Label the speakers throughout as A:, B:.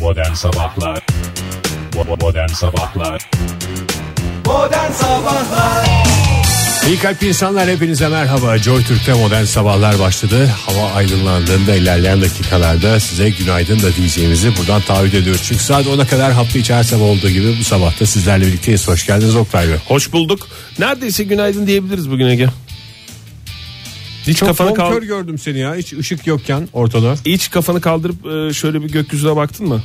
A: Modern Sabahlar Bo- Modern Sabahlar
B: Modern Sabahlar
C: İyi kalp insanlar hepinize merhaba. Joy Türk'te modern sabahlar başladı. Hava aydınlandığında ilerleyen dakikalarda size günaydın da diyeceğimizi buradan taahhüt ediyoruz. Çünkü saat 10'a kadar hafta içi her sabah olduğu gibi bu sabahta sizlerle birlikteyiz. Hoş geldiniz Oktay Bey.
D: Hoş bulduk. Neredeyse günaydın diyebiliriz bugün Ege. Hiç kafanı kal-
C: gördüm seni ya. Hiç ışık yokken ortada.
D: hiç kafanı kaldırıp e, şöyle bir gökyüzüne baktın mı?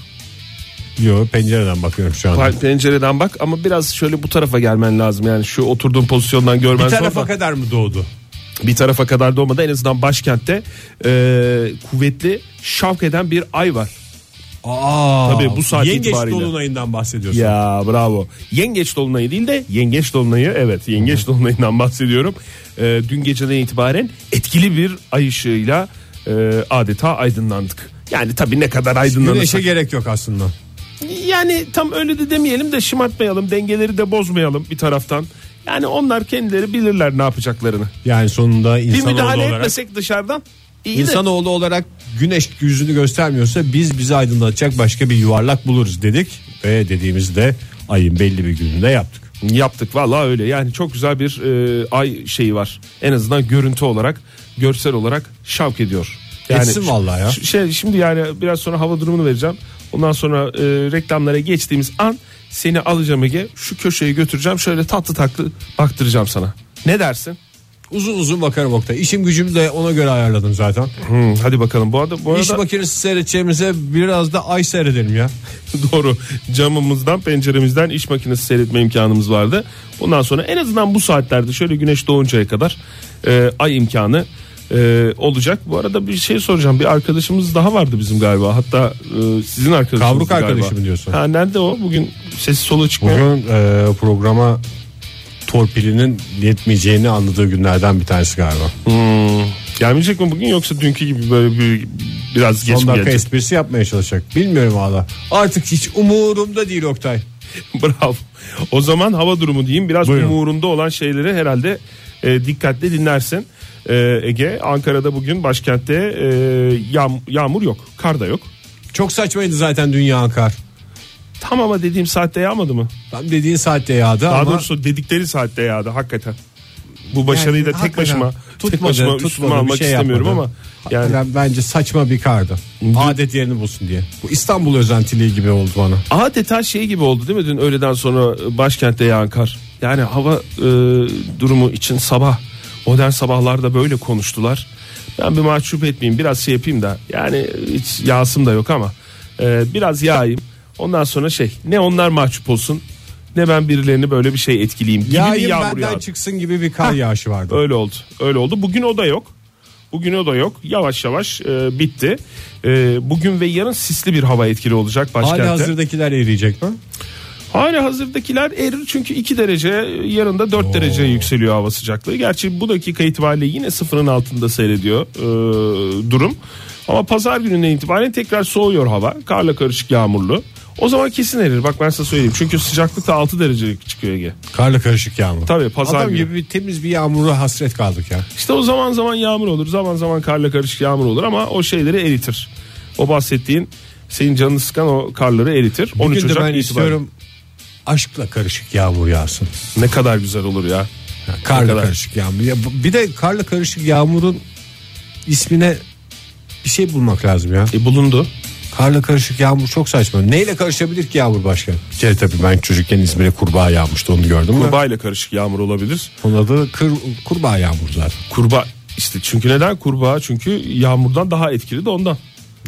C: Yo pencereden bakıyorum şu anda.
D: Pa- Pencereden bak ama biraz şöyle bu tarafa gelmen lazım. Yani şu oturduğun pozisyondan görmen zor da.
C: kadar mı doğdu?
D: bir tarafa kadar da olmadı. En azından başkentte e, kuvvetli şavk eden bir ay var.
C: Aa,
D: Tabii bu saat
C: yengeç
D: itibariyle.
C: dolunayından bahsediyorsun.
D: Ya bravo. Yengeç dolunayı değil de yengeç dolunayı evet yengeç dolunayından bahsediyorum. Ee, dün geceden itibaren etkili bir ay ışığıyla e, adeta aydınlandık. Yani tabii ne kadar
C: Güneşe
D: aydınlanırsak.
C: gerek yok aslında.
D: Yani tam öyle de demeyelim de şımartmayalım dengeleri de bozmayalım bir taraftan. Yani onlar kendileri bilirler ne yapacaklarını.
C: Yani sonunda
D: Bir
C: insan
D: müdahale
C: olarak
D: etmesek dışarıdan iyi de.
C: İnsanoğlu olarak güneş yüzünü göstermiyorsa biz bizi aydınlatacak başka bir yuvarlak buluruz dedik. Ve dediğimizde ayın belli bir gününde yaptık.
D: Yaptık vallahi öyle yani çok güzel bir e, ay şeyi var en azından görüntü olarak görsel olarak şavk ediyor. Yani
C: Etsin vallahi ya.
D: ş- Şey, şimdi yani biraz sonra hava durumunu vereceğim ondan sonra e, reklamlara geçtiğimiz an seni alacağım Ege şu köşeye götüreceğim şöyle tatlı tatlı baktıracağım sana. Ne dersin?
C: Uzun uzun bakarım Oktay. İşim gücümü de ona göre ayarladım zaten.
D: Hmm, hadi bakalım bu arada, bu
C: İş
D: arada
C: makinesi seyredeceğimize biraz da ay seyredelim ya.
D: doğru camımızdan penceremizden iş makinesi seyretme imkanımız vardı. Ondan sonra en azından bu saatlerde şöyle güneş doğuncaya kadar e, ay imkanı e, olacak. Bu arada bir şey soracağım bir arkadaşımız daha vardı bizim galiba hatta e, sizin arkadaşınız
C: Kavruk
D: galiba.
C: arkadaşı mı diyorsun?
D: Ha, nerede o bugün sesi solu çıkmıyor.
C: Bugün e, programa torpilinin yetmeyeceğini anladığı günlerden bir tanesi galiba.
D: Gelmeyecek mi bugün yoksa dünkü gibi böyle bir, biraz geç
C: Son
D: mi
C: dakika
D: gelecek?
C: esprisi yapmaya çalışacak. Bilmiyorum valla. Artık hiç umurumda değil Oktay.
D: Bravo. O zaman hava durumu diyeyim. Biraz
C: Buyurun.
D: umurunda olan şeyleri herhalde e, dikkatli dinlersin. E, Ege, Ankara'da bugün başkentte e, yağm- yağmur yok. Kar da yok.
C: Çok saçmaydı zaten dünya akar.
D: Tam ama dediğim saatte yağmadı mı?
C: Tam dediğin saatte yağdı
D: Daha
C: ama
D: doğrusu dedikleri saatte yağdı hakikaten. Bu başarıyı da tek
C: hakikaten
D: başıma tek
C: tutmadı,
D: başıma
C: tutmadı,
D: üstüme
C: bir
D: almak
C: şey
D: istemiyorum
C: yapmadı.
D: ama yani
C: Hakikaten bence saçma bir kardı. Adet yerini bulsun diye. Bu İstanbul özentiliği gibi oldu bana.
D: adeta şey gibi oldu değil mi dün öğleden sonra e, başkentte yağan kar. Yani hava e, durumu için sabah modern sabahlarda böyle konuştular. Ben bir mahcup etmeyeyim biraz şey yapayım da yani hiç yağsım da yok ama e, biraz yağayım. Ondan sonra şey ne onlar mahcup olsun ne ben birilerini böyle bir şey etkileyim gibi bir
C: Yağayım
D: yağmur
C: benden
D: yağdı.
C: çıksın gibi bir kar yağışı vardı.
D: Öyle oldu. Öyle oldu. Bugün o da yok. Bugün o da yok. Yavaş yavaş e, bitti. E, bugün ve yarın sisli bir hava etkili olacak başkentte.
C: Hali hazırdakiler eriyecek mi?
D: Hali hazırdakiler erir çünkü 2 derece yarın da 4 derece yükseliyor hava sıcaklığı. Gerçi bu dakika itibariyle yine sıfırın altında seyrediyor e, durum. Ama pazar gününden itibaren tekrar soğuyor hava. Karla karışık yağmurlu. O zaman kesin erir. Bak ben size söyleyeyim. Çünkü sıcaklık da 6 derecelik çıkıyor Ege.
C: Karla karışık yağmur.
D: Tabii, pazar
C: Adam
D: günü.
C: gibi bir temiz bir yağmura hasret kaldık ya.
D: İşte o zaman zaman yağmur olur. Zaman zaman karla karışık yağmur olur ama o şeyleri eritir. O bahsettiğin senin canını sıkan o karları eritir. 13
C: Bugün de
D: Ocak
C: ben
D: itibariyle.
C: istiyorum aşkla karışık yağmur yağsın.
D: Ne kadar güzel olur ya. Ne
C: Karla
D: kadar.
C: karışık yağmur. Ya bu- bir de karla karışık yağmurun ismine bir şey bulmak lazım ya.
D: E bulundu.
C: Karla karışık yağmur çok saçma. Neyle karışabilir ki yağmur başka? Bir kere tabii ben çocukken İzmir'e kurbağa yağmıştı onu gördüm mü?
D: Kurbağa ile karışık yağmur olabilir.
C: Onun adı kır, kurbağa yağmur zaten.
D: Kurbağa işte çünkü neden kurbağa? Çünkü yağmurdan daha etkili de ondan.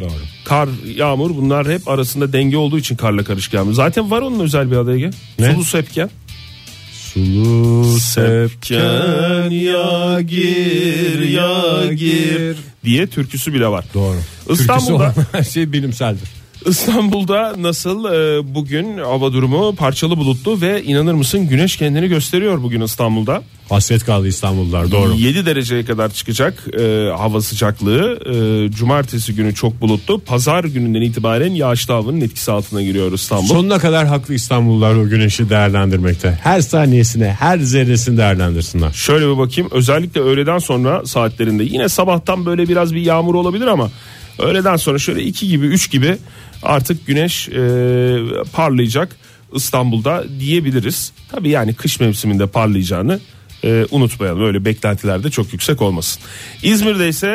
C: Doğru.
D: Kar, yağmur bunlar hep arasında denge olduğu için karla karışık yağmur. Zaten var onun özel bir adı Ege.
C: Ne?
D: Sulu sepken.
C: Sulu
D: Sepken ya gir ya gir diye türküsü bile var.
C: Doğru. Türküsü
D: İstanbul'da
C: olan her şey bilimseldir.
D: İstanbul'da nasıl e, bugün hava durumu parçalı bulutlu ve inanır mısın güneş kendini gösteriyor bugün İstanbul'da.
C: Hasret kaldı İstanbullular doğru.
D: 7 dereceye kadar çıkacak e, hava sıcaklığı. E, cumartesi günü çok bulutlu. Pazar gününden itibaren yağışlı havanın etkisi altına giriyor İstanbul.
C: Sonuna kadar haklı İstanbullular o güneşi değerlendirmekte. Her saniyesine, her zerresini değerlendirsinler.
D: Şöyle bir bakayım özellikle öğleden sonra saatlerinde yine sabahtan böyle biraz bir yağmur olabilir ama e, Öğleden sonra şöyle 2 gibi 3 gibi artık güneş e, parlayacak İstanbul'da diyebiliriz. Tabii yani kış mevsiminde parlayacağını e, unutmayalım. Öyle beklentiler de çok yüksek olmasın. İzmir'de ise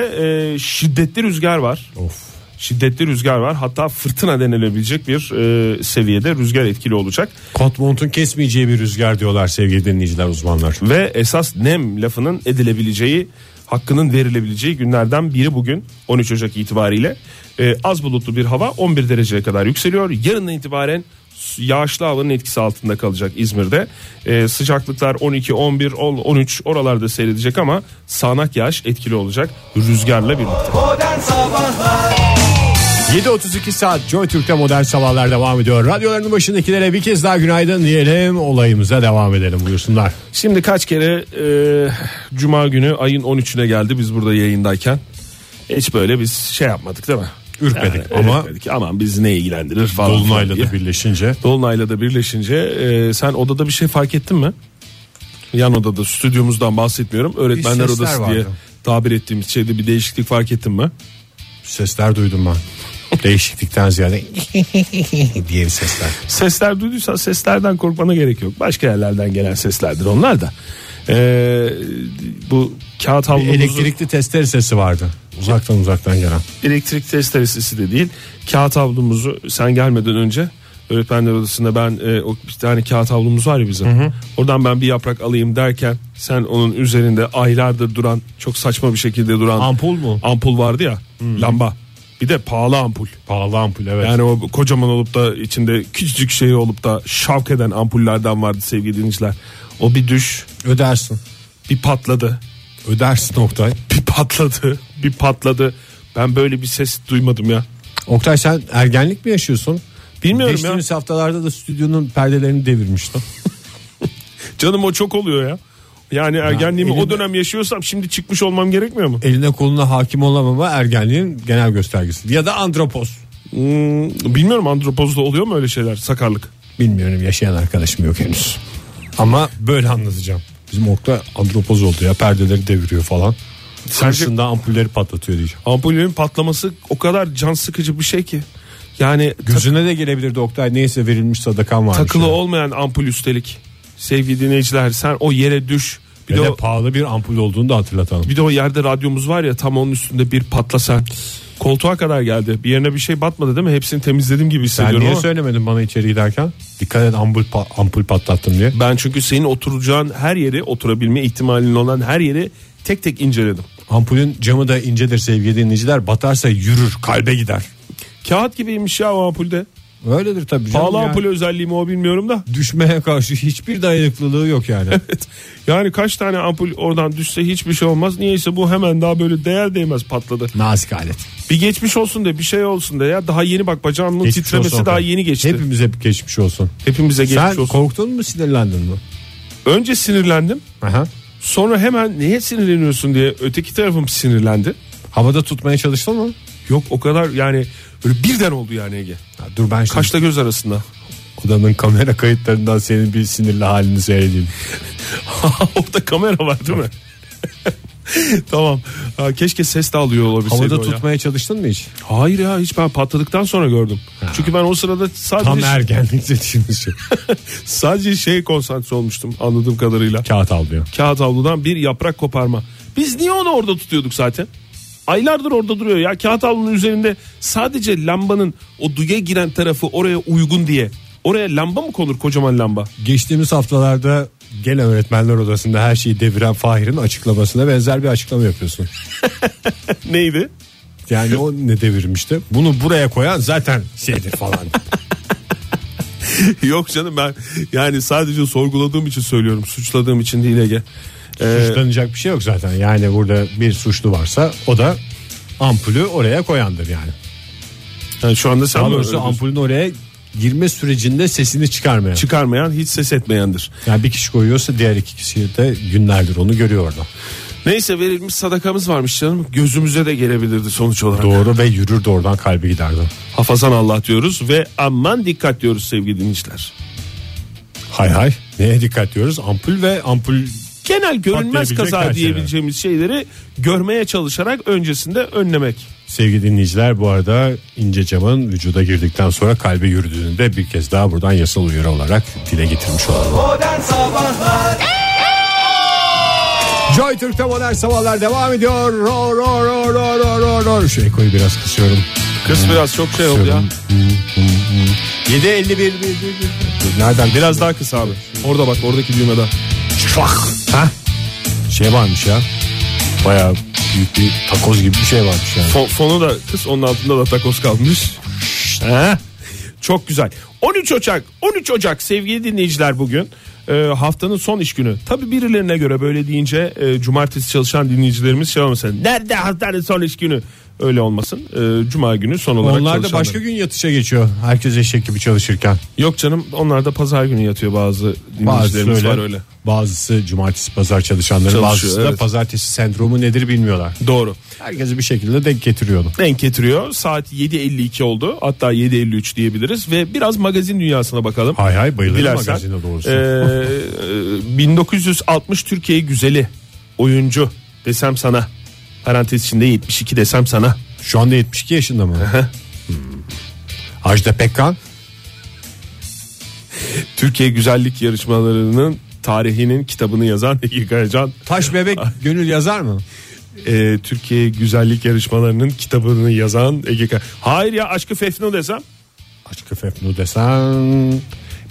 D: e, şiddetli rüzgar var.
C: Of.
D: Şiddetli rüzgar var. Hatta fırtına denilebilecek bir e, seviyede rüzgar etkili olacak.
C: Kot montun kesmeyeceği bir rüzgar diyorlar sevgili dinleyiciler uzmanlar.
D: Ve esas nem lafının edilebileceği hakkının verilebileceği günlerden biri bugün 13 Ocak itibariyle Ee, az bulutlu bir hava 11 dereceye kadar yükseliyor. Yarından itibaren su- yağışlı havanın etkisi altında kalacak İzmir'de. Ee, sıcaklıklar 12, 11, 10, 13 oralarda seyredecek ama sağanak yağış etkili olacak rüzgarla birlikte.
B: Modern Sabahlar
C: 7.32 saat Joy Türk'te modern sabahlar devam ediyor. Radyoların başındakilere bir kez daha günaydın diyelim. Olayımıza devam edelim buyursunlar.
D: Şimdi kaç kere e, cuma günü ayın 13'üne geldi biz burada yayındayken. Hiç böyle biz şey yapmadık değil mi?
C: Ürkmedik ama-
D: ürkmedik. Aman bizi ne ilgilendirir falan. filan
C: Dolunay'la
D: diye.
C: da birleşince
D: Dolunay'la da birleşince e, sen odada bir şey fark ettin mi? Yan odada stüdyomuzdan bahsetmiyorum. Öğretmenler
C: sesler
D: odası
C: vardı.
D: diye tabir ettiğimiz şeyde bir değişiklik fark ettin mi?
C: sesler duydum ben. Değişiklikten ziyade diye bir sesler.
D: Sesler duyduysan seslerden korkmana gerek yok. Başka yerlerden gelen seslerdir onlar da. E, bu kağıt havlumuzu
C: Elektrikli testere sesi vardı. Uzaktan uzaktan gelen.
D: elektrik testeresi de değil. Kağıt havlumuzu sen gelmeden önce öğretmenler odasında ben e, o bir tane kağıt havlumuz var ya bizim. Oradan ben bir yaprak alayım derken sen onun üzerinde aylardır duran çok saçma bir şekilde duran
C: Ampul mu?
D: ampul vardı ya lamba. Bir de pahalı ampul.
C: Pahalı ampul evet.
D: Yani o kocaman olup da içinde küçücük şey olup da şavk eden ampullerden vardı sevgili dinleyiciler. O bir düş,
C: ödersin.
D: bir patladı,
C: Ödersin Oktay.
D: bir patladı, bir patladı. Ben böyle bir ses duymadım ya.
C: Oktay sen ergenlik mi yaşıyorsun?
D: Bilmiyorum ya.
C: Geçtiğimiz haftalarda da stüdyonun perdelerini devirmiştim.
D: Canım o çok oluyor ya. Yani ergenliğimi
C: elinde-
D: o dönem yaşıyorsam şimdi çıkmış olmam gerekmiyor mu?
C: Eline koluna hakim olamama ergenliğin genel göstergesi. Ya da andropoz.
D: Hmm, bilmiyorum andropozda oluyor mu öyle şeyler sakarlık?
C: Bilmiyorum yaşayan arkadaşım yok henüz. Ama böyle anlatacağım. Bizim Oktay andropoz oldu ya perdeleri deviriyor falan. Karşında ampulleri patlatıyor diyeceğim.
D: Ampullerin patlaması o kadar can sıkıcı bir şey ki. Yani
C: Gözüne de gelebilirdi Oktay neyse verilmiş sadakan varmış.
D: takılı
C: yani.
D: olmayan ampul üstelik. Sevgili dinleyiciler sen o yere düş. Bir
C: Ve
D: de,
C: de
D: o,
C: pahalı bir ampul olduğunu da hatırlatalım.
D: bir de o yerde radyomuz var ya tam onun üstünde bir patlasa. Koltuğa kadar geldi. Bir yerine bir şey batmadı değil mi? Hepsini temizledim gibi
C: Sen
D: hissediyorum
C: niye
D: ama-
C: söylemedin bana içeri giderken? Dikkat et ampul, pa- ampul patlattım diye.
D: Ben çünkü senin oturacağın her yeri oturabilme ihtimalin olan her yeri tek tek inceledim.
C: Ampulün camı da incedir sevgili dinleyiciler. Batarsa yürür kalbe gider.
D: Kağıt gibiymiş ya o ampulde.
C: Öyledir tabii canım.
D: Pahalı
C: yani.
D: ampul özelliği mi o bilmiyorum da.
C: düşmeye karşı hiçbir dayanıklılığı yok yani.
D: Evet. Yani kaç tane ampul oradan düşse hiçbir şey olmaz. Niyeyse bu hemen daha böyle değer değmez patladı.
C: Nazik alet.
D: Bir geçmiş olsun de bir şey olsun de ya. Daha yeni bak bacağının
C: Geçmiş
D: titremesi
C: olsun
D: daha
C: Oktay.
D: yeni geçti.
C: Hepimiz hep geçmiş olsun.
D: Hepimize geçmiş
C: Sen
D: olsun.
C: korktun mu sinirlendin mi?
D: Önce sinirlendim.
C: Aha.
D: Sonra hemen neye sinirleniyorsun diye öteki tarafım sinirlendi.
C: Havada tutmaya çalıştın mı?
D: Yok o kadar yani böyle birden oldu yani Ege.
C: Ya dur ben şimdi
D: Kaşla göz arasında.
C: odanın kamera kayıtlarından senin bir sinirli halini seyredeyim.
D: Orada kamera var değil mi? tamam. Ha, keşke ses de alıyor olabilseydi
C: Havada
D: o ya.
C: tutmaya çalıştın mı hiç?
D: Hayır ya hiç ben patladıktan sonra gördüm. Çünkü ben o sırada
C: Tam
D: sadece
C: ergenlik dediğimiz şey.
D: sadece şey konsantre olmuştum anladığım kadarıyla.
C: Kağıt almıyor.
D: Kağıt havludan bir yaprak koparma. Biz niye onu orada tutuyorduk zaten? Aylardır orada duruyor ya kağıt havlunun üzerinde sadece lambanın o duya giren tarafı oraya uygun diye. Oraya lamba mı konur kocaman lamba?
C: Geçtiğimiz haftalarda gene öğretmenler odasında her şeyi deviren Fahir'in açıklamasına benzer bir açıklama yapıyorsun.
D: Neydi?
C: Yani o ne devirmişti? Bunu buraya koyan zaten şeydir falan.
D: Yok canım ben yani sadece sorguladığım için söylüyorum suçladığım için değil Ege. Ee,
C: Suçlanacak bir şey yok zaten. Yani burada bir suçlu varsa o da ampulü oraya koyandır yani.
D: yani şu anda sen
C: Daha
D: mi
C: doğrusu
D: öyle
C: ampulün oraya girme sürecinde sesini çıkarmayan.
D: çıkarmayan hiç ses etmeyendir.
C: Yani bir kişi koyuyorsa diğer iki kişi de günlerdir onu görüyor orada.
D: Neyse verilmiş sadakamız varmış canım. Gözümüze de gelebilirdi sonuç olarak.
C: Doğru ve yürürdü oradan kalbi giderdi.
D: Hafazan Allah diyoruz ve aman dikkat diyoruz sevgili dinleyiciler.
C: Hay hay. Neye dikkat diyoruz? Ampul ve ampul
D: Genel görünmez
C: Patlayabilecek
D: kaza
C: her şeyler.
D: diyebileceğimiz şeyleri görmeye çalışarak öncesinde önlemek.
C: Sevgili dinleyiciler bu arada ince camın vücuda girdikten sonra kalbe yürüdüğünü de bir kez daha buradan yasal uyarı olarak dile getirmiş olalım.
B: Modern Sabahlar
C: Joy Türk'te modern sabahlar devam ediyor. Ror ror ror ror ror ror ror. Şu ekoyu biraz kısıyorum.
D: Kız biraz çok şey oldu ya.
C: Kısıyorum.
D: 7.51
C: Nereden?
D: Biraz daha kısa abi. Orada bak oradaki düğmede.
C: Şlak. Ha? Şey varmış ya. Bayağı büyük bir takoz gibi bir şey varmış yani.
D: Fon- fonu da kız onun altında da takoz kalmış. He? Çok güzel. 13 Ocak 13 Ocak sevgili dinleyiciler bugün e, haftanın son iş günü. Tabi birilerine göre böyle deyince e, cumartesi çalışan dinleyicilerimiz şey olmasın. Nerede haftanın son iş günü? Öyle olmasın. E, Cuma günü son olarak
C: Onlar da
D: çalışanlar.
C: başka gün yatışa geçiyor. Herkes eşek gibi çalışırken.
D: Yok canım onlar da pazar günü yatıyor bazı
C: Bazısı
D: dinleyicilerimiz
C: öyle,
D: var öyle.
C: Bazısı cumartesi pazar çalışanları
D: Çalışıyor,
C: bazısı da
D: evet.
C: pazartesi sendromu nedir bilmiyorlar.
D: Doğru.
C: Herkesi bir şekilde denk getiriyordu.
D: Denk getiriyor. Saat 7.52 oldu. Hatta 7.53 diyebiliriz. Ve biraz magazin dünyasına bakalım.
C: Hay hay bayılırım
D: Dilersen.
C: magazine doğrusu.
D: Ee, e, 1960 Türkiye güzeli oyuncu desem sana. Parantez içinde 72 desem sana.
C: Şu anda 72 yaşında mı? Hmm. Ajda Pekkan.
D: Türkiye güzellik yarışmalarının tarihinin kitabını yazan Ege Kayacan.
C: Taş bebek gönül yazar mı?
D: Ee, Türkiye güzellik yarışmalarının kitabını yazan Ege Kayacan. Hayır ya aşkı Fefno desem.
C: Aşkı Fefnu desen.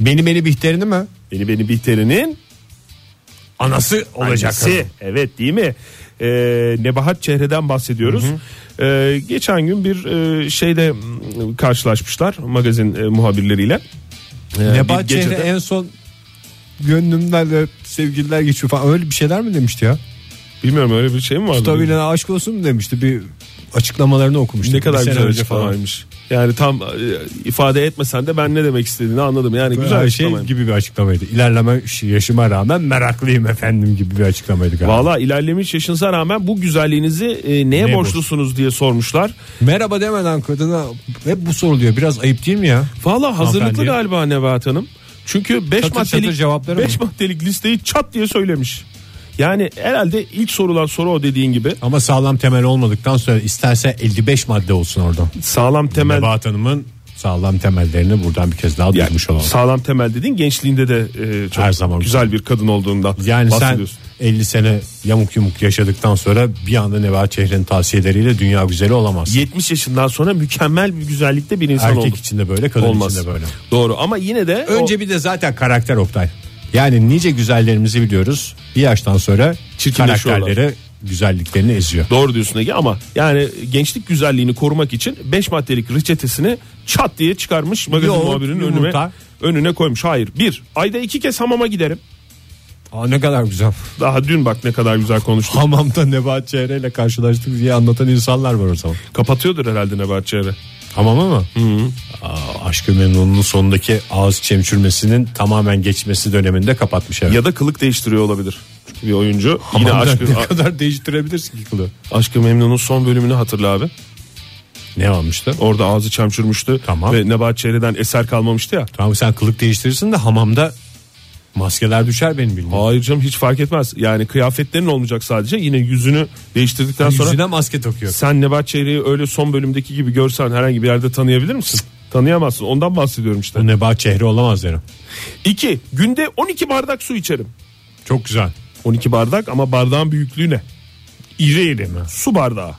C: Beni beni bihterini mi?
D: Beni beni Bihter'inin
C: Anası olacak.
D: Annesi. Evet değil mi? Ee, Nebahat Çehre'den bahsediyoruz. Ee, geçen gün bir e, şeyde m, karşılaşmışlar magazin e, muhabirleriyle. Ee,
C: Nebahat
D: bir gecede-
C: Çehre en son gönlümden de sevgililer geçiyor falan öyle bir şeyler mi demişti ya?
D: Bilmiyorum öyle bir şey mi vardı?
C: Tabii aşk olsun mu demişti bir açıklamalarını okumuştum.
D: Ne kadar
C: Bir sene
D: güzel
C: önce
D: açıklamaymış. Yani tam e, ifade etmesen de ben ne demek istediğini anladım. Yani
C: Böyle
D: güzel
C: bir
D: açıklamaymış.
C: şey gibi bir açıklamaydı. İlerleme yaşıma rağmen meraklıyım efendim gibi bir açıklamaydı galiba.
D: Valla ilerlemiş yaşınıza rağmen bu güzelliğinizi e, neye
C: Neye
D: borçlusunuz diye sormuşlar.
C: Merhaba demeden kadına hep bu soruluyor. Biraz ayıp değil mi ya?
D: Valla hazırlıklı
C: Hanımefendi.
D: galiba Nebahat Hanım. Çünkü 5
C: Çatır
D: maddelik
C: çatır cevapları
D: beş maddelik listeyi çat diye söylemiş. Yani herhalde ilk sorulan soru o dediğin gibi.
C: Ama sağlam temel olmadıktan sonra isterse 55 madde olsun oradan.
D: Sağlam temel
C: Nebahat Hanım'ın sağlam temellerini buradan bir kez daha
D: yani
C: duymuş olalım.
D: sağlam temel dediğin gençliğinde de e, çok
C: Her zaman
D: güzel bir kadın olduğunda
C: Yani sen
D: bahsediyorsun.
C: 50 sene yamuk yumuk yaşadıktan sonra bir anda Nebahat Çehre'nin tavsiyeleriyle dünya güzeli olamaz.
D: 70 yaşından sonra mükemmel bir güzellikte bir insan
C: Erkek
D: oldun.
C: içinde böyle kadın
D: Olmaz.
C: içinde böyle.
D: Doğru ama yine de o
C: Önce bir de zaten karakter Oktay. Yani nice güzellerimizi biliyoruz. Bir yaştan sonra
D: Çirkinleşiyorlar.
C: karakterleri güzelliklerini eziyor.
D: Doğru diyorsun Ege ama yani gençlik güzelliğini korumak için 5 maddelik reçetesini çat diye çıkarmış magazin
C: Yoğurt,
D: muhabirinin önüme
C: yumurta.
D: önüne koymuş. Hayır bir ayda iki kez hamama giderim.
C: Aa, ne kadar güzel.
D: Daha dün bak ne kadar güzel konuştuk.
C: Hamamda Nebahat Çehre ile karşılaştık diye anlatan insanlar var o zaman.
D: Kapatıyordur herhalde Nebahat Çehre.
C: Hamama mı? Aa, Aşk-ı Memnun'un sonundaki ağız çemçürmesinin tamamen geçmesi döneminde kapatmış evet.
D: Ya da kılık değiştiriyor olabilir. Çünkü bir oyuncu yine
C: Hamamda
D: aşkı,
C: ne kadar değiştirebilirsin ki kılığı?
D: aşkı Memnun'un son bölümünü hatırla abi.
C: Ne almıştı?
D: Orada ağzı çamçurmuştu
C: Tamam.
D: ve Nebahat Çehre'den eser kalmamıştı ya.
C: Tamam sen kılık değiştirirsin de hamamda maskeler düşer benim bildiğim.
D: Hayır canım hiç fark etmez. Yani kıyafetlerin olmayacak sadece. Yine yüzünü değiştirdikten sonra
C: Yüzüne maske takıyor.
D: Sen Nebahat Çehre'yi öyle son bölümdeki gibi görsen herhangi bir yerde tanıyabilir misin? Tanıyamazsın. Ondan bahsediyorum işte.
C: Bu Nebahat Çehre olamaz derim.
D: 2. Günde 12 bardak su içerim.
C: Çok güzel.
D: 12 bardak ama bardağın büyüklüğü ne?
C: İri iri mi?
D: Su bardağı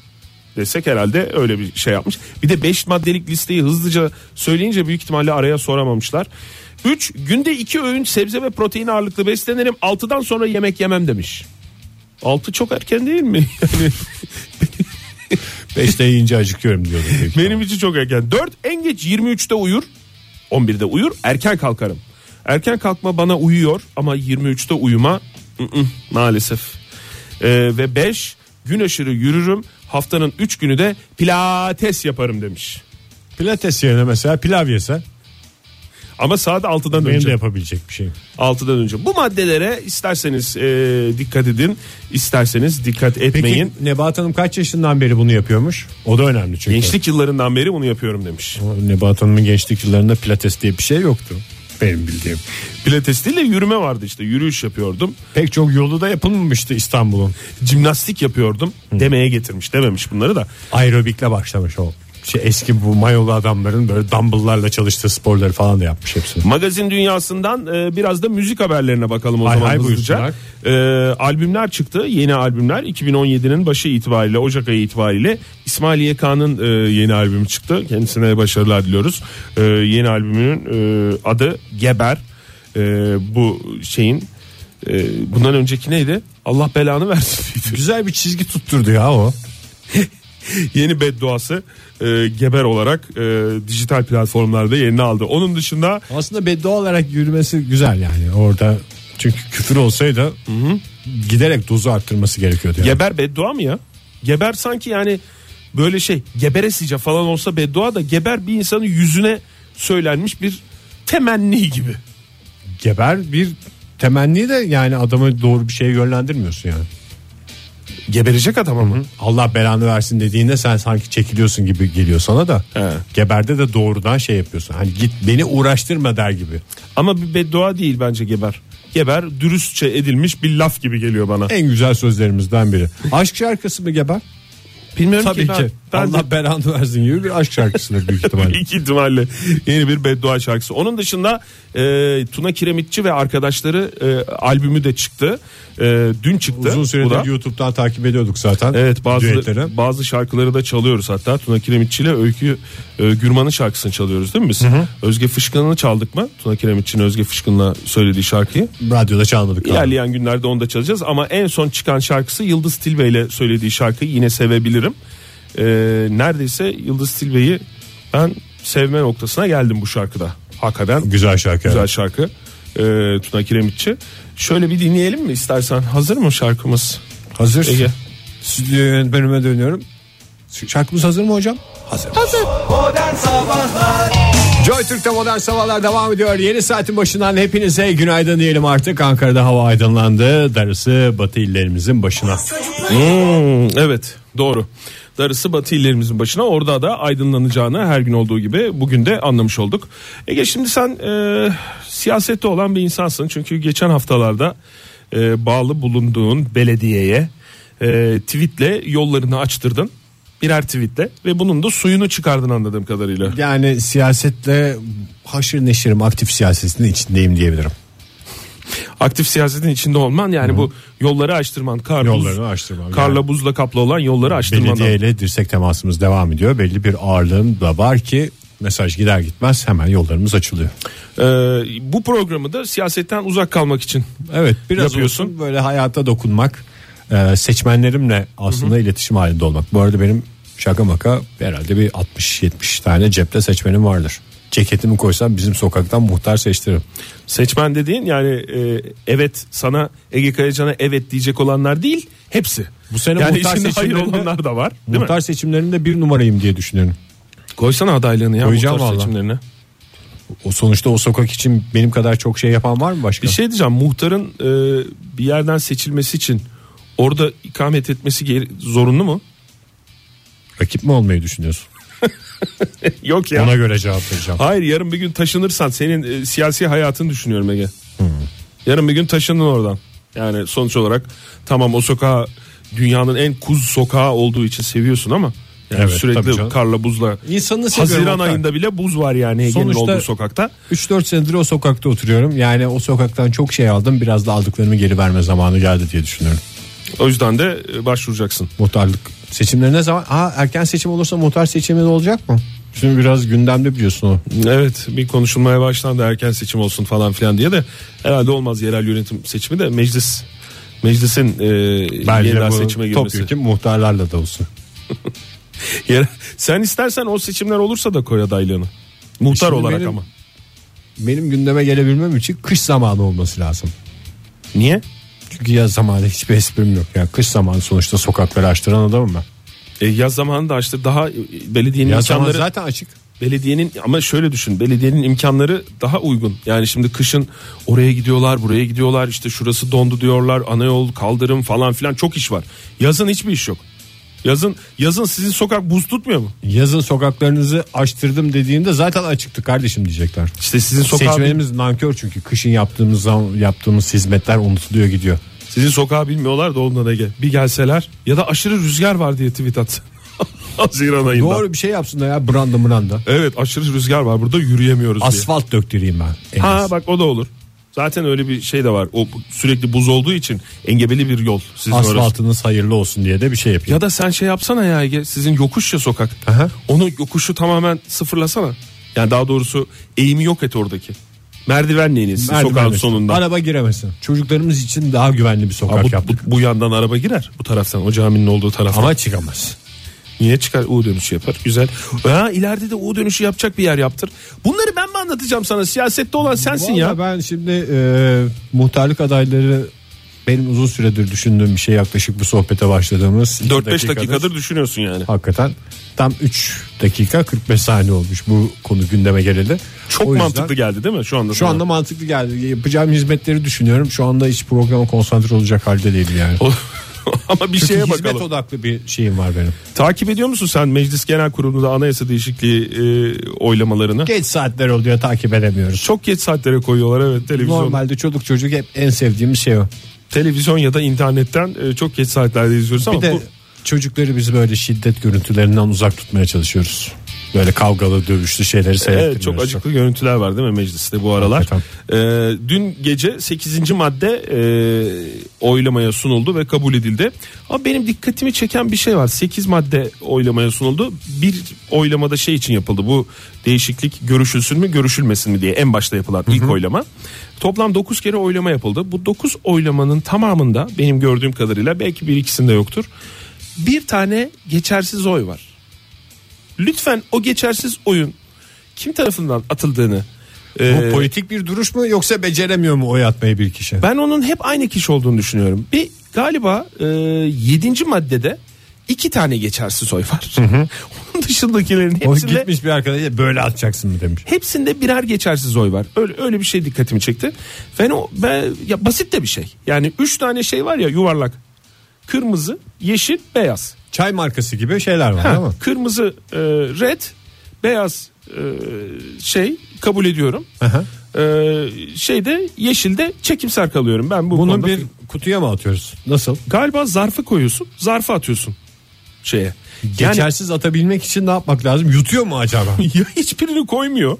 D: desek herhalde öyle bir şey yapmış. Bir de 5 maddelik listeyi hızlıca söyleyince büyük ihtimalle araya soramamışlar. 3. Günde 2 öğün sebze ve protein ağırlıklı beslenirim. 6'dan sonra yemek yemem demiş. 6 çok erken değil mi? Yani
C: Beşte yiyince acıkıyorum diyordum. Peki.
D: Benim için çok erken. 4 en geç 23'te uyur. 11'de uyur. Erken kalkarım. Erken kalkma bana uyuyor ama 23'te uyuma ı-ı, maalesef. Ee, ve 5 gün aşırı yürürüm. Haftanın 3 günü de pilates yaparım demiş.
C: Pilates yerine mesela pilav yese
D: Ama saat 6'dan
C: benim de
D: önce.
C: yapabilecek bir şey.
D: 6'dan önce. Bu maddelere isterseniz e, dikkat edin, isterseniz dikkat
C: Peki
D: etmeyin.
C: Nebahat Hanım kaç yaşından beri bunu yapıyormuş? O da önemli çünkü.
D: Gençlik yıllarından beri bunu yapıyorum demiş.
C: Nebahat Hanım'ın gençlik yıllarında pilates diye bir şey yoktu. benim bildiğim.
D: Pilates değil de yürüme vardı işte. Yürüyüş yapıyordum.
C: Pek çok yolu da yapılmamıştı İstanbul'un.
D: Cimnastik yapıyordum. Demeye getirmiş. Dememiş bunları da.
C: Aerobikle başlamış o. Şey eski bu mayolu adamların böyle dumbbell'larla çalıştığı sporları falan da yapmış hepsini.
D: Magazin dünyasından e, biraz da müzik haberlerine bakalım o
C: Hay
D: zaman
C: hay
D: hızlıca. E, albümler çıktı. Yeni albümler 2017'nin başı itibariyle Ocak ayı itibariyle İsmail YK'nın e, yeni albümü çıktı. Kendisine başarılar diliyoruz. E, yeni albümünün e, adı Geber. E, bu şeyin e, bundan önceki neydi? Allah belanı versin.
C: Güzel bir çizgi tutturdu ya o.
D: yeni bedduası e, Geber olarak e, dijital platformlarda yerini aldı. Onun dışında
C: Aslında beddua olarak yürümesi güzel yani orada. Çünkü küfür olsaydı giderek dozu arttırması gerekiyordu. Yani.
D: Geber beddua mı ya? Geber sanki yani böyle şey geberesice falan olsa beddua da geber bir insanın yüzüne söylenmiş bir temenni gibi.
C: Geber bir temenni de yani adamı doğru bir şeye yönlendirmiyorsun yani.
D: Geberecek adam ama.
C: Allah belanı versin dediğinde sen sanki çekiliyorsun gibi geliyor sana da.
D: He.
C: Geberde de doğrudan şey yapıyorsun. Hani git beni uğraştırma der gibi.
D: Ama bir beddua değil bence geber. Geber dürüstçe edilmiş bir laf gibi geliyor bana.
C: En güzel sözlerimizden biri. Aşk şarkısı mı geber?
D: Bilmiyorum
C: Tabii ki.
D: ben- ben de-
C: Allah belanı versin gibi bir aşk şarkısıdır büyük ihtimalle.
D: İki ihtimalle yeni bir beddua şarkısı. Onun dışında e, Tuna Kiremitçi ve arkadaşları e, albümü de çıktı. E, dün çıktı.
C: Uzun
D: Bu da.
C: süredir YouTube'dan takip ediyorduk zaten.
D: Evet bazı
C: düetleri.
D: bazı şarkıları da çalıyoruz hatta Tuna Kiremitçi ile Öykü e, Gürman'ın şarkısını çalıyoruz değil mi biz? Özge Fışkın'ı çaldık mı? Tuna Kiremitçi'nin Özge Fışkın'la söylediği şarkıyı.
C: Radyoda çalmadık. galiba.
D: İlerleyen günlerde onu da çalacağız ama en son çıkan şarkısı Yıldız Tilbe ile söylediği şarkıyı yine sevebilirim. E, neredeyse Yıldız Tilbe'yi ben sevme noktasına geldim bu şarkıda. Hakikaten
C: Güzel şarkı.
D: güzel şarkı e, Tuna Kiremitçi. Şöyle bir dinleyelim mi istersen? Hazır mı şarkımız?
C: Hazır.
D: Ege.
C: Stüdyo yönetmenime dönüyorum. Şarkımız hazır mı hocam? Hazır.
B: Modern Sabahlar
C: Joy Türk'te modern sabahlar devam ediyor. Yeni saatin başından hepinize günaydın diyelim artık. Ankara'da hava aydınlandı. Darısı batı illerimizin başına.
D: Hmm, evet doğru. Darısı batı illerimizin başına orada da aydınlanacağını her gün olduğu gibi bugün de anlamış olduk. Ege şimdi sen e, siyasette olan bir insansın. Çünkü geçen haftalarda e, bağlı bulunduğun belediyeye e, tweetle yollarını açtırdın. Birer tweetle ve bunun da suyunu çıkardın anladığım kadarıyla.
C: Yani siyasetle haşır neşirim aktif siyasetinin içindeyim diyebilirim.
D: Aktif siyasetin içinde olman yani bu yolları açtırman. Kar, buz-
C: Yollarını açtırmam,
D: Karla
C: yani.
D: buzla kaplı olan yolları açtırman.
C: Belediye ile dirsek temasımız devam ediyor. Belli bir ağırlığım da var ki mesaj gider gitmez hemen yollarımız açılıyor.
D: Ee, bu programı da siyasetten uzak kalmak için
C: Evet biraz
D: Yapıyorsun.
C: olsun böyle hayata dokunmak e, seçmenlerimle aslında iletişim halinde olmak. Bu arada benim şaka maka herhalde bir 60-70 tane cepte seçmenim vardır. Ceketimi koysam bizim sokaktan muhtar seçtiririm.
D: Seçmen dediğin yani e, evet sana Ege Kayacan'a evet diyecek olanlar değil hepsi.
C: Bu sene
D: yani
C: muhtar
D: içinde hayır
C: seçimlerinde-
D: olanlar da var değil
C: muhtar
D: mi?
C: seçimlerinde bir numarayım diye düşünüyorum.
D: Koysana adaylığını ya
C: Koyacağım
D: muhtar
C: vallahi.
D: seçimlerine.
C: O sonuçta o sokak için benim kadar çok şey yapan var mı başka?
D: Bir şey diyeceğim muhtarın e, bir yerden seçilmesi için orada ikamet etmesi gere- zorunlu mu?
C: Rakip mi olmayı düşünüyorsun?
D: Yok ya.
C: Ona göre cevap vereceğim.
D: Hayır yarın bir gün taşınırsan senin e, siyasi hayatını düşünüyorum Ege. Yarın bir gün taşındın oradan. Yani sonuç olarak tamam o sokağa dünyanın en kuz sokağı olduğu için seviyorsun ama yani
C: Evet, tabii
D: sürekli
C: canım.
D: karla buzla.
C: İnsanı seviyorum
D: Haziran
C: Oktay.
D: ayında bile buz var yani Ege'nin
C: Sonuçta-
D: olduğu sokakta.
C: 3-4 senedir o sokakta oturuyorum. Yani o sokaktan çok şey aldım. Biraz da aldıklarımı geri verme zamanı geldi diye düşünüyorum.
D: O yüzden de e, başvuracaksın.
C: Muhtarlık seçimleri ne zaman? Aa, erken seçim olursa muhtar seçimi de olacak mı? Şimdi biraz gündemde biliyorsun o.
D: Evet bir konuşulmaya başlandı erken seçim olsun falan filan diye de herhalde olmaz yerel yönetim seçimi de meclis meclisin e, yerel seçime girmesi.
C: Topyekun muhtarlarla da olsun.
D: Yere- Sen istersen o seçimler olursa da koy adaylığını. Muhtar
C: Şimdi
D: olarak
C: benim-
D: ama.
C: Benim gündeme gelebilmem için kış zamanı olması lazım.
D: Niye?
C: Çünkü yaz zamanı hiçbir esprim yok. Yani kış zamanı sonuçta sokakları açtıran adamım ben.
D: E, yaz zamanı da açtı. Daha e, belediyenin
C: Yaz zamanı
D: imkanları
C: zaten açık.
D: belediyenin ama şöyle düşün. Belediyenin imkanları daha uygun. Yani şimdi kışın oraya gidiyorlar, buraya gidiyorlar. işte şurası dondu diyorlar. Ana yol, kaldırım falan filan çok iş var. Yazın hiçbir iş yok. Yazın yazın sizin sokak buz tutmuyor mu?
C: Yazın sokaklarınızı açtırdım dediğinde zaten açıktı kardeşim diyecekler.
D: İşte sizin sokağa
C: Seçmenimiz nankör çünkü kışın yaptığımız zam- yaptığımız hizmetler unutuluyor gidiyor.
D: sizin sokağa bilmiyorlar da ondan Ege. Bir gelseler ya da aşırı rüzgar var diye tweet at. Haziran ayında.
C: Doğru bir şey yapsınlar ya şey- branda mıranda.
D: Evet aşırı rüzgar var burada yürüyemiyoruz diye.
C: Asfalt döktüreyim ben. en
D: Ha
C: az.
D: bak o da olur. Zaten öyle bir şey de var. O sürekli buz olduğu için engebeli bir yol sizin orası.
C: Asfaltınız hayırlı olsun diye de bir şey yapayım.
D: Ya da sen şey yapsana ya Ege sizin yokuş ya sokak.
C: Aha.
D: Onu yokuşu tamamen sıfırlasana. Yani daha doğrusu eğimi yok et oradaki. Merdivenle inin siz
C: Merdiven
D: sokağın
C: mesela.
D: sonunda.
C: Araba giremesin. Çocuklarımız için daha güvenli bir
D: Ha,
C: sokak
D: bu,
C: yaptık.
D: bu- bu yandan araba girer bu taraftan o caminin olduğu taraftan.
C: Ama çıkamaz.
D: Niye çıkar U dönüşü yapar güzel. Ha, ileride de U dönüşü yapacak bir yer yaptır. Bunları ben mi anlatacağım sana siyasette olan sensin
C: Vallahi
D: ya.
C: Ben şimdi e, muhtarlık adayları benim uzun süredir düşündüğüm bir şey yaklaşık bu sohbete başladığımız. iki
D: 4-5 dakikadır düşünüyorsun yani.
C: Hakikaten tam 3 dakika 45 saniye olmuş bu konu gündeme geleli.
D: Çok
C: O yüzden
D: mantıklı geldi değil mi şu anda?
C: Şu anda mantıklı geldi. Yapacağım hizmetleri düşünüyorum. Şu anda hiç programa konsantre olacak halde değilim yani.
D: ama bir
C: Çünkü
D: şeye
C: hizmet
D: bakalım.
C: odaklı bir şeyim var benim.
D: Takip ediyor musun sen Meclis Genel Kurulu'nda anayasa değişikliği e, oylamalarını?
C: Geç saatler oluyor takip edemiyoruz.
D: Çok geç saatlere koyuyorlar evet televizyon.
C: Normalde çocuk çocuk hep en sevdiğimiz şey o.
D: Televizyon ya da internetten e, çok geç saatlerde izliyoruz ama
C: Bir de
D: bu
C: çocukları biz böyle şiddet görüntülerinden uzak tutmaya çalışıyoruz. Böyle kavgalı dövüşlü şeyleri
D: Evet,
C: seyrettirmiyoruz.
D: çok acıklı görüntüler var değil mi mecliste bu aralar.
C: Hakikaten.
D: Ee, dün gece 8. madde e, oylamaya sunuldu ve kabul edildi. Ama benim dikkatimi çeken bir şey var. 8 madde oylamaya sunuldu. Bir oylamada şey için yapıldı. Bu değişiklik görüşülsün mü görüşülmesin mi diye en başta yapılan ilk oylama. Toplam 9 kere oylama yapıldı. Bu 9 oylamanın tamamında benim gördüğüm kadarıyla belki bir ikisinde yoktur. Bir tane geçersiz oy var lütfen o geçersiz oyun kim tarafından atıldığını
C: Bu
D: e,
C: politik bir duruş mu yoksa beceremiyor mu oy atmayı bir kişi?
D: ben onun hep aynı kişi olduğunu düşünüyorum. Bir galiba 7. maddede iki tane geçersiz oy var. Onun dışındakilerin
C: O
D: hepsinde
C: gitmiş bir arkadaşa böyle atacaksın mı demiş.
D: hepsinde birer geçersiz oy var. Öyle öyle bir şey dikkatimi çekti. Ben o ben, ya basit de bir şey. Yani üç tane şey var ya yuvarlak. Kırmızı, yeşil, beyaz.
C: Çay markası gibi şeyler var
D: Ha,
C: ama.
D: kırmızı e, red, beyaz e, şey kabul ediyorum.
C: Aha.
D: Ee, şeyde yeşilde çekimser kalıyorum ben bu
C: Bunu
D: konuda.
C: bir kutuya mı atıyoruz? Nasıl?
D: galiba zarfı koyuyorsun zarfı atıyorsun şeye yani
C: Geçersiz atabilmek için ne yapmak lazım? Yutuyor mu acaba?
D: ya hiçbirini koymuyor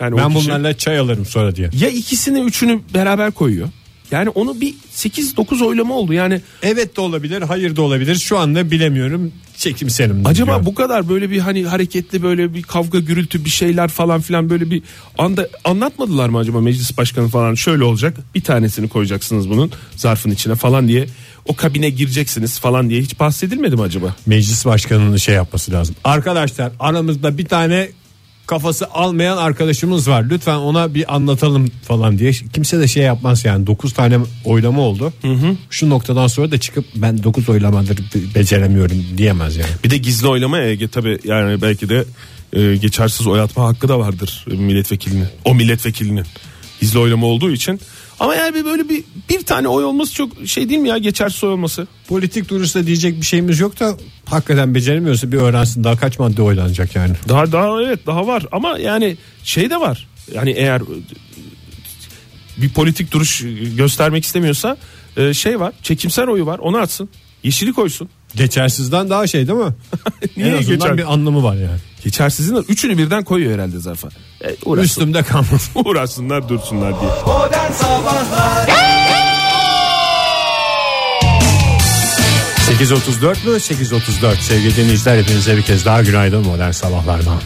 D: yani o
C: ben
D: kişi-
C: bunlarla çay alırım sonra diye.
D: ya ikisini üçünü beraber koyuyor yani onu bir 8-9 oylama oldu yani
C: Evet de olabilir, hayır da olabilir. Şu anda bilemiyorum. Çekimserim.
D: acaba
C: diyor.
D: bu kadar böyle bir hani hareketli böyle bir kavga gürültü bir şeyler falan filan böyle bir anda anlatmadılar mı acaba meclis başkanı falan şöyle olacak bir tanesini koyacaksınız bunun zarfın içine falan diye o kabine gireceksiniz falan diye hiç bahsedilmedi mi acaba?
C: meclis başkanının şey yapması lazım. Arkadaşlar aramızda bir tane kafası almayan arkadaşımız var. Lütfen ona bir anlatalım falan diye. Kimse de şey yapmaz yani. 9 tane oylama oldu. Şu noktadan sonra da çıkıp ben 9 oylamadır be- beceremiyorum diyemez yani.
D: Bir de gizli oylama Ege tabi yani belki de e, geçersiz oy atma hakkı da vardır milletvekilinin. O milletvekilinin gizli oylama olduğu için. Ama yani bir böyle bir bir tane oy olması çok şey değil mi ya geçersiz oy olması?
C: Politik duruşta diyecek bir şeyimiz yok da hakikaten beceremiyorsa bir öğrensin daha kaç madde oylanacak yani.
D: Daha daha evet daha var ama yani şey de var. Yani eğer e, bir politik duruş göstermek istemiyorsa e, şey var. Çekimsel oyu var. Onu atsın. Yeşili koysun.
C: Geçersizden daha şey değil mi?
D: Niye
C: en azından
D: geçer-
C: bir anlamı var yani.
D: Geçersizin de üçünü birden koyuyor herhalde zarfa. E, uğraşsın.
C: Üstümde kalmasın.
D: Uğraşsınlar dursunlar diye.
B: Modern Sabahlar
C: 8.34 mü? 8.34 sevgili dinleyiciler hepinize bir kez daha günaydın modern sabahlardan.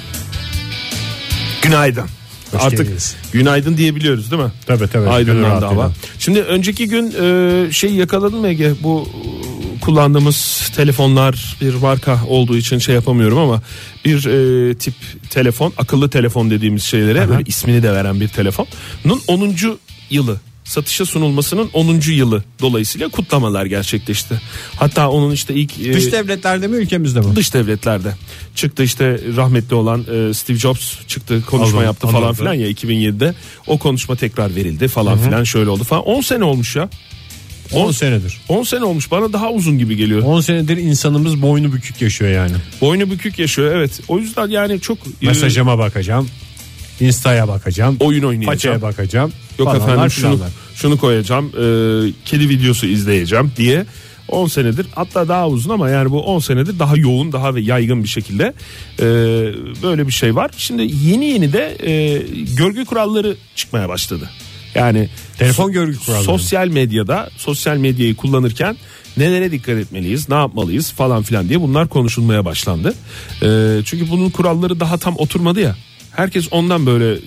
D: Günaydın.
C: Hoş
D: Artık
C: geldiniz.
D: günaydın diyebiliyoruz değil mi?
C: Tabii, tabii. Gönül
D: Aydınlandı
C: rahatlığıyla.
D: hava. Şimdi önceki gün e, şey yakaladın mı Ege? Bu e, kullandığımız telefonlar bir marka olduğu için şey yapamıyorum ama bir e, tip telefon, akıllı telefon dediğimiz şeylere böyle ismini de veren bir telefonun 10. yılı satışa sunulmasının 10. yılı dolayısıyla kutlamalar gerçekleşti. Hatta onun işte ilk e,
C: Dış devletlerde mi ülkemizde mi?
D: dış devletlerde çıktı işte rahmetli olan e, Steve Jobs çıktı konuşma
C: Anladım,
D: yaptı falan
C: anladım.
D: filan ya 2007'de o konuşma tekrar verildi falan filan şöyle oldu falan 10 sene olmuş ya On-
C: 10 senedir.
D: 10 sene olmuş bana daha uzun gibi geliyor.
C: 10 senedir insanımız boynu bükük yaşıyor yani.
D: Boynu bükük yaşıyor evet. O yüzden yani çok e,
C: Mesajıma bakacağım. Insta'ya bakacağım.
D: oyun oynayacağım.
C: Façaya bakacağım.
D: Yok
C: falanlar
D: efendim şunu
C: filanlar.
D: şunu koyacağım. e, kedi videosu izleyeceğim diye 10 senedir hatta daha uzun ama yani bu 10 senedir daha yoğun daha ve yaygın bir şekilde e, böyle bir şey var. Şimdi yeni yeni de e, görgü kuralları çıkmaya başladı. Yani
C: Telefon görgü kuralları.
D: Sosyal medyada sosyal medyayı kullanırken nelere dikkat etmeliyiz, ne yapmalıyız falan filan diye bunlar konuşulmaya başlandı. E, çünkü bunun kuralları daha tam oturmadı ya. Herkes ondan böyle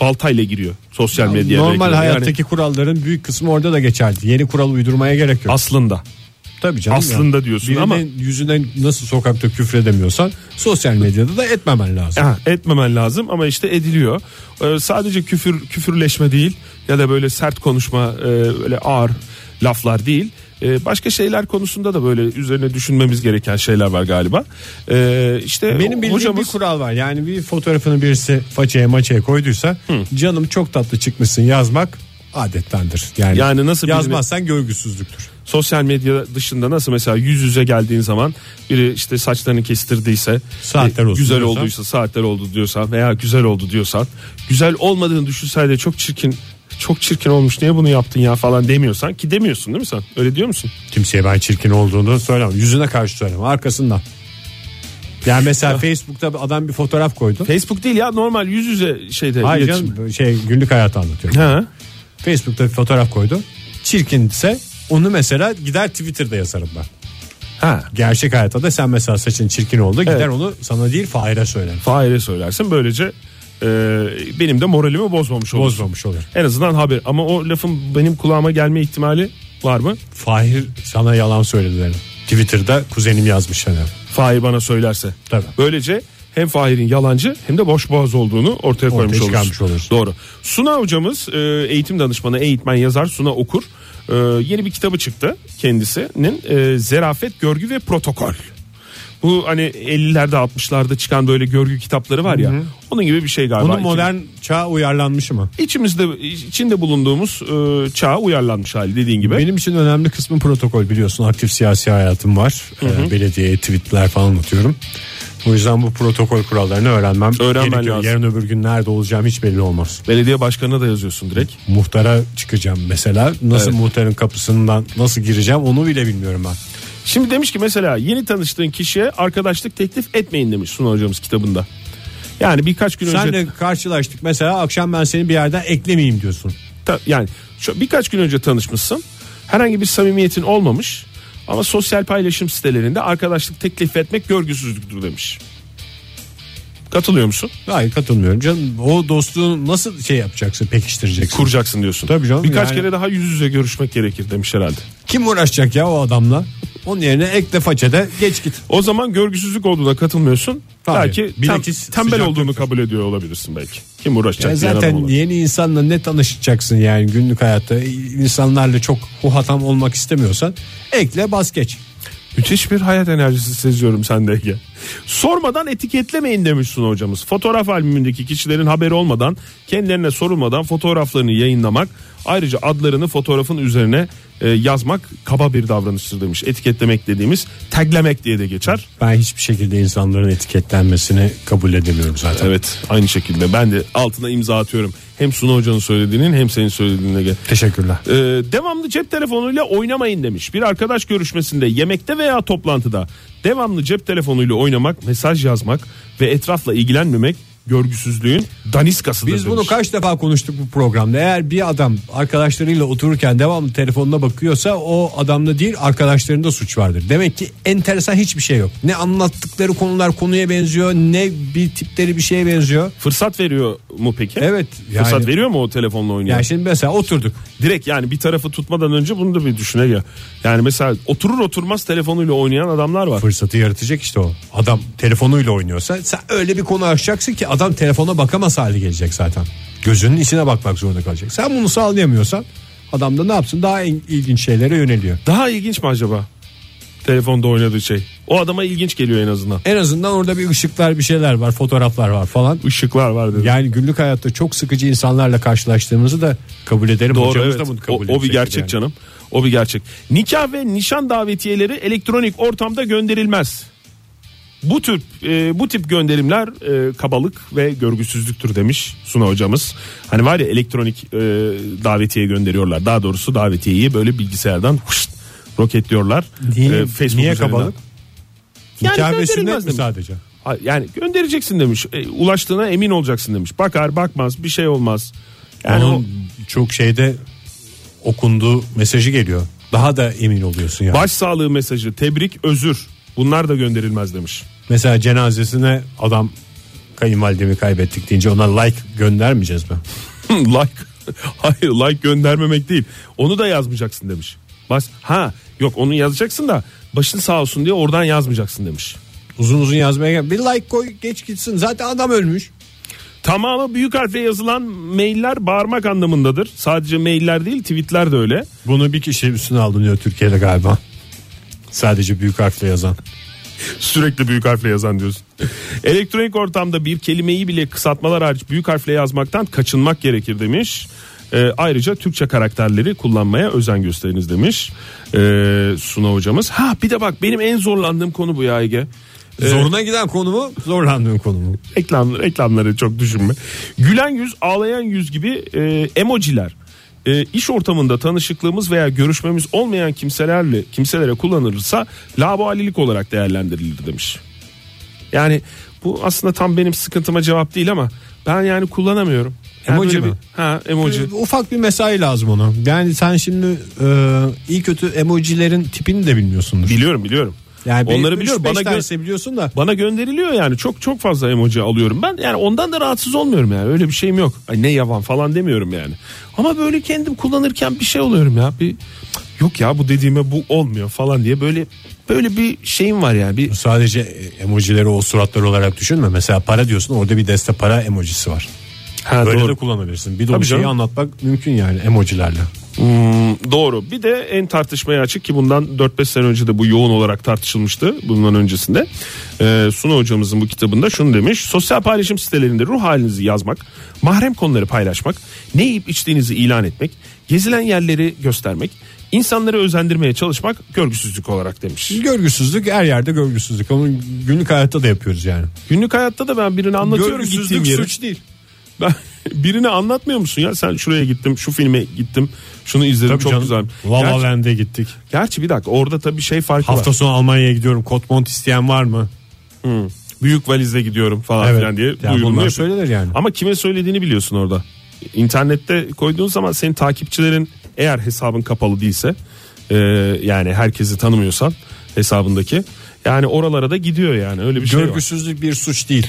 D: baltayla giriyor sosyal medyaya.
C: Normal
D: Yani
C: hayattaki kuralların büyük kısmı orada da geçerli. Yeni kural uydurmaya gerek yok.
D: aslında.
C: Tabii canım.
D: Aslında diyorsun
C: Birinin
D: ama-
C: yüzüne nasıl sokakta küfredemiyorsan sosyal medyada da etmemen lazım.
D: Ha, etmemen lazım ama işte ediliyor. Ee, sadece küfür küfürleşme değil ya da böyle sert konuşma e, öyle ağır laflar değil. Ee, başka şeyler konusunda da böyle üzerine düşünmemiz gereken şeyler var galiba. Ee, işte
C: Benim bildiğim
D: hocamız
C: bir kural var. Yani bir fotoğrafını birisi façaya maçaya koyduysa canım çok tatlı çıkmışsın yazmak adettendir. Yani,
D: Yani nasıl birini-
C: yazmazsan görgüsüzlüktür.
D: sosyal medya dışında nasıl mesela yüz yüze geldiğin zaman biri işte saçlarını kestirdiyse
C: Saatler olsun
D: güzel
C: diyorsan.
D: olduysa saatler oldu diyorsan veya güzel oldu diyorsan güzel olmadığını düşünseydi çok çirkin çok çirkin olmuş niye bunu yaptın ya falan demiyorsan ki demiyorsun değil mi sen öyle diyor musun?
C: Kimseye ben çirkin olduğunu söylemem. Yüzüne karşı söylemem arkasından. Yani mesela Facebook'ta adam bir fotoğraf koydu.
D: Facebook değil ya normal yüz yüze şeyde
C: Hayır
D: iletişim.
C: canım, şey günlük hayatı anlatıyorum.
D: Ha.
C: Facebook'ta bir fotoğraf koydu. Çirkinse onu mesela gider Twitter'da yazarım ben.
D: Ha.
C: Gerçek hayatta da sen mesela saçın çirkin oldu gider
D: Evet.
C: onu sana değil Fahir'e söyler.
D: Fahir'e söylersin böylece e, benim de moralimi bozmamış olur.
C: Bozmamış olur.
D: En azından haber ama o lafın benim kulağıma gelme ihtimali var mı?
C: Fahir sana yalan söylediler. Twitter'da kuzenim yazmış hani.
D: Fahir bana söylerse.
C: Tabii.
D: Böylece hem Fahir'in yalancı hem de boş boğaz olduğunu ortaya koymuş oluruz.
C: çıkarmış oluruz.
D: Doğru. Suna hocamız e, eğitim danışmanı, eğitmen yazar Suna Okur. E, Yeni bir kitabı çıktı kendisinin. E, Zerafet, Görgü ve Protokol. Bu hani 50'lerde 60'larda çıkan böyle görgü kitapları var ya. Onun gibi bir şey galiba.
C: Bunun modern çağa uyarlanmış mı?
D: İçimizde içinde bulunduğumuz e, çağa uyarlanmış hali dediğin gibi.
C: Benim için önemli kısmı protokol biliyorsun aktif siyasi hayatım var. Ee, belediyeye tweetler falan atıyorum. O yüzden bu protokol kurallarını öğrenmem
D: Öğrenmen
C: gerekiyor.
D: lazım.
C: Yarın öbür gün nerede olacağım hiç belli olmaz.
D: Belediye başkanına da yazıyorsun direkt.
C: Muhtara çıkacağım mesela. Nasıl
D: Evet.
C: muhtarın kapısından nasıl gireceğim onu bile bilmiyorum ben.
D: Şimdi demiş ki mesela yeni tanıştığın kişiye arkadaşlık teklif etmeyin demiş Suna hocamız kitabında. Yani birkaç gün önce
C: Senle karşılaştık mesela akşam ben seni bir yerden eklemeyeyim diyorsun.
D: ta- yani şu, birkaç gün önce tanışmışsın. Herhangi bir samimiyetin olmamış ama sosyal paylaşım sitelerinde arkadaşlık teklif etmek görgüsüzlüktür demiş. Katılıyor musun?
C: Hayır katılmıyorum canım. O dostluğu nasıl şey yapacaksın pekiştireceksin?
D: Kuracaksın diyorsun.
C: Tabii canım,
D: Birkaç
C: yani-
D: kere daha yüz yüze görüşmek gerekir demiş herhalde.
C: Kim uğraşacak ya o adamla? Onun yerine ekle façede geç git.
D: O zaman görgüsüzlük olduğuna katılmıyorsun.
C: Tabii.
D: Belki tem-
C: Bilakis
D: tembel
C: sıcaklık-
D: olduğunu kabul ediyor olabilirsin belki. Kim uğraşacak?
C: Ya
D: diyen adam
C: E zaten
D: olabilir.
C: yeni insanla ne tanışacaksın yani günlük hayatta E, insanlarla çok huhatam olmak istemiyorsan ekle bas geç.
D: Müthiş bir hayat enerjisi seziyorum sende Ege. Sormadan etiketlemeyin demiş Suna hocamız. Fotoğraf albümündeki kişilerin haberi olmadan kendilerine sorulmadan fotoğraflarını yayınlamak ayrıca adlarını fotoğrafın üzerine e, yazmak kaba bir davranıştır demiş. Etiketlemek dediğimiz taglemek diye de geçer.
C: Ben hiçbir şekilde insanların etiketlenmesini kabul edemiyorum zaten.
D: Evet aynı şekilde ben de altına imza atıyorum. Hem Suna hocanın söylediğinin hem senin söylediğine Ege.
C: Teşekkürler.
D: Ee, devamlı cep telefonuyla oynamayın demiş. Bir arkadaş görüşmesinde, yemekte veya toplantıda devamlı cep telefonuyla oynamak, mesaj yazmak ve etrafla ilgilenmemek görgüsüzlüğün daniskasıdır
C: Biz bunu
D: demiş.
C: kaç defa konuştuk bu programda. Eğer bir adam arkadaşlarıyla otururken devamlı telefonuna bakıyorsa o adamda değil arkadaşlarında suç vardır. Demek ki enteresan hiçbir şey yok. Ne anlattıkları konular konuya benziyor ne bir tipleri bir şeye benziyor.
D: Fırsat veriyor mu peki?
C: Evet, yani-
D: Fırsat veriyor mu o telefonla oynayan?
C: Yani şimdi mesela oturduk.
D: Direkt yani bir tarafı tutmadan önce bunu da bir düşüne ya. Yani mesela oturur oturmaz telefonuyla oynayan adamlar var.
C: fırsatı yaratacak işte o. Adam telefonuyla oynuyorsa sen öyle bir konu açacaksın ki adam telefona bakamaz hale gelecek zaten. Gözünün içine bakmak zorunda kalacak. Sen bunu sağlayamıyorsan adam da ne yapsın daha en- ilginç şeylere yöneliyor.
D: Daha ilginç mi acaba? telefonda oynadığı şey. O adama ilginç geliyor en azından.
C: En azından orada bir ışıklar bir şeyler var fotoğraflar var falan.
D: Işıklar var dedi.
C: Yani günlük hayatta çok sıkıcı insanlarla karşılaştığımızı da kabul ederim.
D: Doğru
C: Hocamız
D: evet.
C: da bunu kabul
D: O, o bir
C: edecektir
D: gerçek
C: yani.
D: canım. O bir gerçek. Nikah ve nişan davetiyeleri elektronik ortamda gönderilmez. Bu tür e, bu tip gönderimler e, kabalık ve görgüsüzlüktür demiş Suna hocamız. Hani var ya elektronik e, davetiye gönderiyorlar. Daha doğrusu davetiyeyi böyle bilgisayardan huşt, roketliyorlar.
C: Niye,
D: E, Facebook
C: niye
D: üzerinden.
C: kabalık?
D: Yani
C: Nikah ve
D: gönderilmez
C: sünnet mi
D: demiş.
C: sadece?
D: Ha, Yani göndereceksin demiş. E, ulaştığına emin olacaksın demiş. Bakar bakmaz bir şey olmaz. Yani
C: Onun
D: o-
C: çok şeyde okunduğu mesajı geliyor. Daha da emin oluyorsun yani.
D: Baş sağlığı mesajı, tebrik, özür. Bunlar da gönderilmez demiş.
C: Mesela cenazesine adam kayınvalidemi kaybettik deyince ona like göndermeyeceğiz mi?
D: like. Hayır, like göndermemek değil. Onu da yazmayacaksın demiş. Baş ha yok onu yazacaksın da başın sağ olsun diye oradan yazmayacaksın demiş.
C: Uzun uzun yazmaya gel. Bir like koy geç gitsin. Zaten adam ölmüş.
D: Tamamı büyük harfle yazılan mailler bağırmak anlamındadır. Sadece mailler değil, tweetler de öyle.
C: Bunu bir kişi üstüne alınıyor Türkiye'de galiba. Sadece büyük harfle yazan.
D: Sürekli büyük harfle yazan diyorsun. Elektronik ortamda bir kelimeyi bile kısaltmalar hariç büyük harfle yazmaktan kaçınmak gerekir demiş. Ee, ayrıca Türkçe karakterleri kullanmaya özen gösteriniz demiş ee, Suna hocamız. Ha bir de bak benim en zorlandığım konu bu ya Ege. Ee,
C: Zoruna giden konu mu? Zorlandığın konu mu?
D: reklam, reklamları çok düşünme. Gülen yüz, ağlayan yüz gibi e, emojiler. E, iş ortamında tanışıklığımız veya görüşmemiz olmayan kimselerle kimselere kullanılırsa laubalilik olarak değerlendirilir demiş. Yani bu aslında tam benim sıkıntıma cevap değil ama ben yani kullanamıyorum. Yani
C: Emoji
D: böyle
C: mi?
D: bir- ha emoji.
C: Ee, Ufak bir mesai lazım ona. Yani sen şimdi e, iyi kötü emojilerin tipini de bilmiyorsundur.
D: Biliyorum biliyorum.
C: yani bir-
D: Onları
C: üç,
D: biliyorum.
C: beş
D: Bana gö-
C: tanesi biliyorsun da.
D: Bana gönderiliyor yani çok çok fazla emoji alıyorum ben yani ondan da rahatsız olmuyorum yani öyle bir şeyim yok Ay ne yavan falan demiyorum yani ama böyle kendim kullanırken bir şey oluyorum ya bir "Cık, yok ya bu dediğime bu olmuyor falan diye böyle böyle bir şeyim var yani bir
C: Sadece e, emojileri o suratlar olarak düşünme. Mesela para diyorsun orada bir deste para emojisi var.
D: ha,
C: Böyle
D: doğru.
C: de kullanabilirsin. Bir de o
D: Tabii
C: şeyi
D: canım.
C: anlatmak mümkün yani emojilerle.
D: Hmm, doğru bir de en tartışmaya açık ki bundan 4-5 sene önce de bu yoğun olarak tartışılmıştı bundan öncesinde Ee, Suna hocamızın bu kitabında şunu demiş sosyal paylaşım sitelerinde ruh halinizi yazmak mahrem konuları paylaşmak ne yiyip içtiğinizi ilan etmek gezilen yerleri göstermek insanları özendirmeye çalışmak görgüsüzlük olarak demiş
C: Görgüsüzlük her yerde görgüsüzlük. Onu günlük hayatta da yapıyoruz yani.
D: günlük hayatta da ben birini anlatıyorum
C: Görgüsüzlük
D: gittiğim yeri.
C: suç değil.
D: Ben birine anlatmıyor musun ya sen şuraya gittim şu filme gittim şunu izledim çok güzel
C: La La
D: Gerçi-
C: Land'e gittik.
D: Gerçi bir dakika orada tabii şey farkı var.
C: Hafta sonu Almanya'ya gidiyorum. Kot mont isteyen var mı?
D: büyük valizle gidiyorum falan
C: Evet.
D: filan diye
C: Yani
D: duyurulma
C: bunlar
D: yapıyor.
C: söylenir yani.
D: Ama kime söylediğini biliyorsun orada. İnternette koyduğun zaman senin takipçilerin eğer hesabın kapalı değilse e, yani herkesi tanımıyorsan hesabındaki yani oralara da gidiyor yani öyle bir şey var.
C: Görgüsüzlük bir suç değil.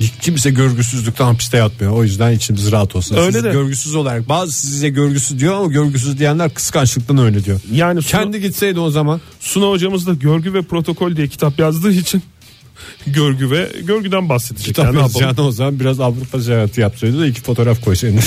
C: Hiç Kimse görgüsüzlükten hapiste yatmıyor. O yüzden içimiz rahat olsun.
D: Öyle
C: Siz
D: de.
C: Görgüsüz olarak bazı size görgüsüz diyor ama görgüsüz diyenler kıskançlıktan öyle diyor.
D: Yani Suna,
C: Kendi gitseydi o zaman
D: Suna hocamız da görgü ve protokol diye kitap yazdığı için görgü ve görgüden bahsedecek.
C: kitap
D: Yani ne yapalım?
C: yazacağını o zaman biraz Avrupa seyahati yapsaydı da iki fotoğraf koysaydı.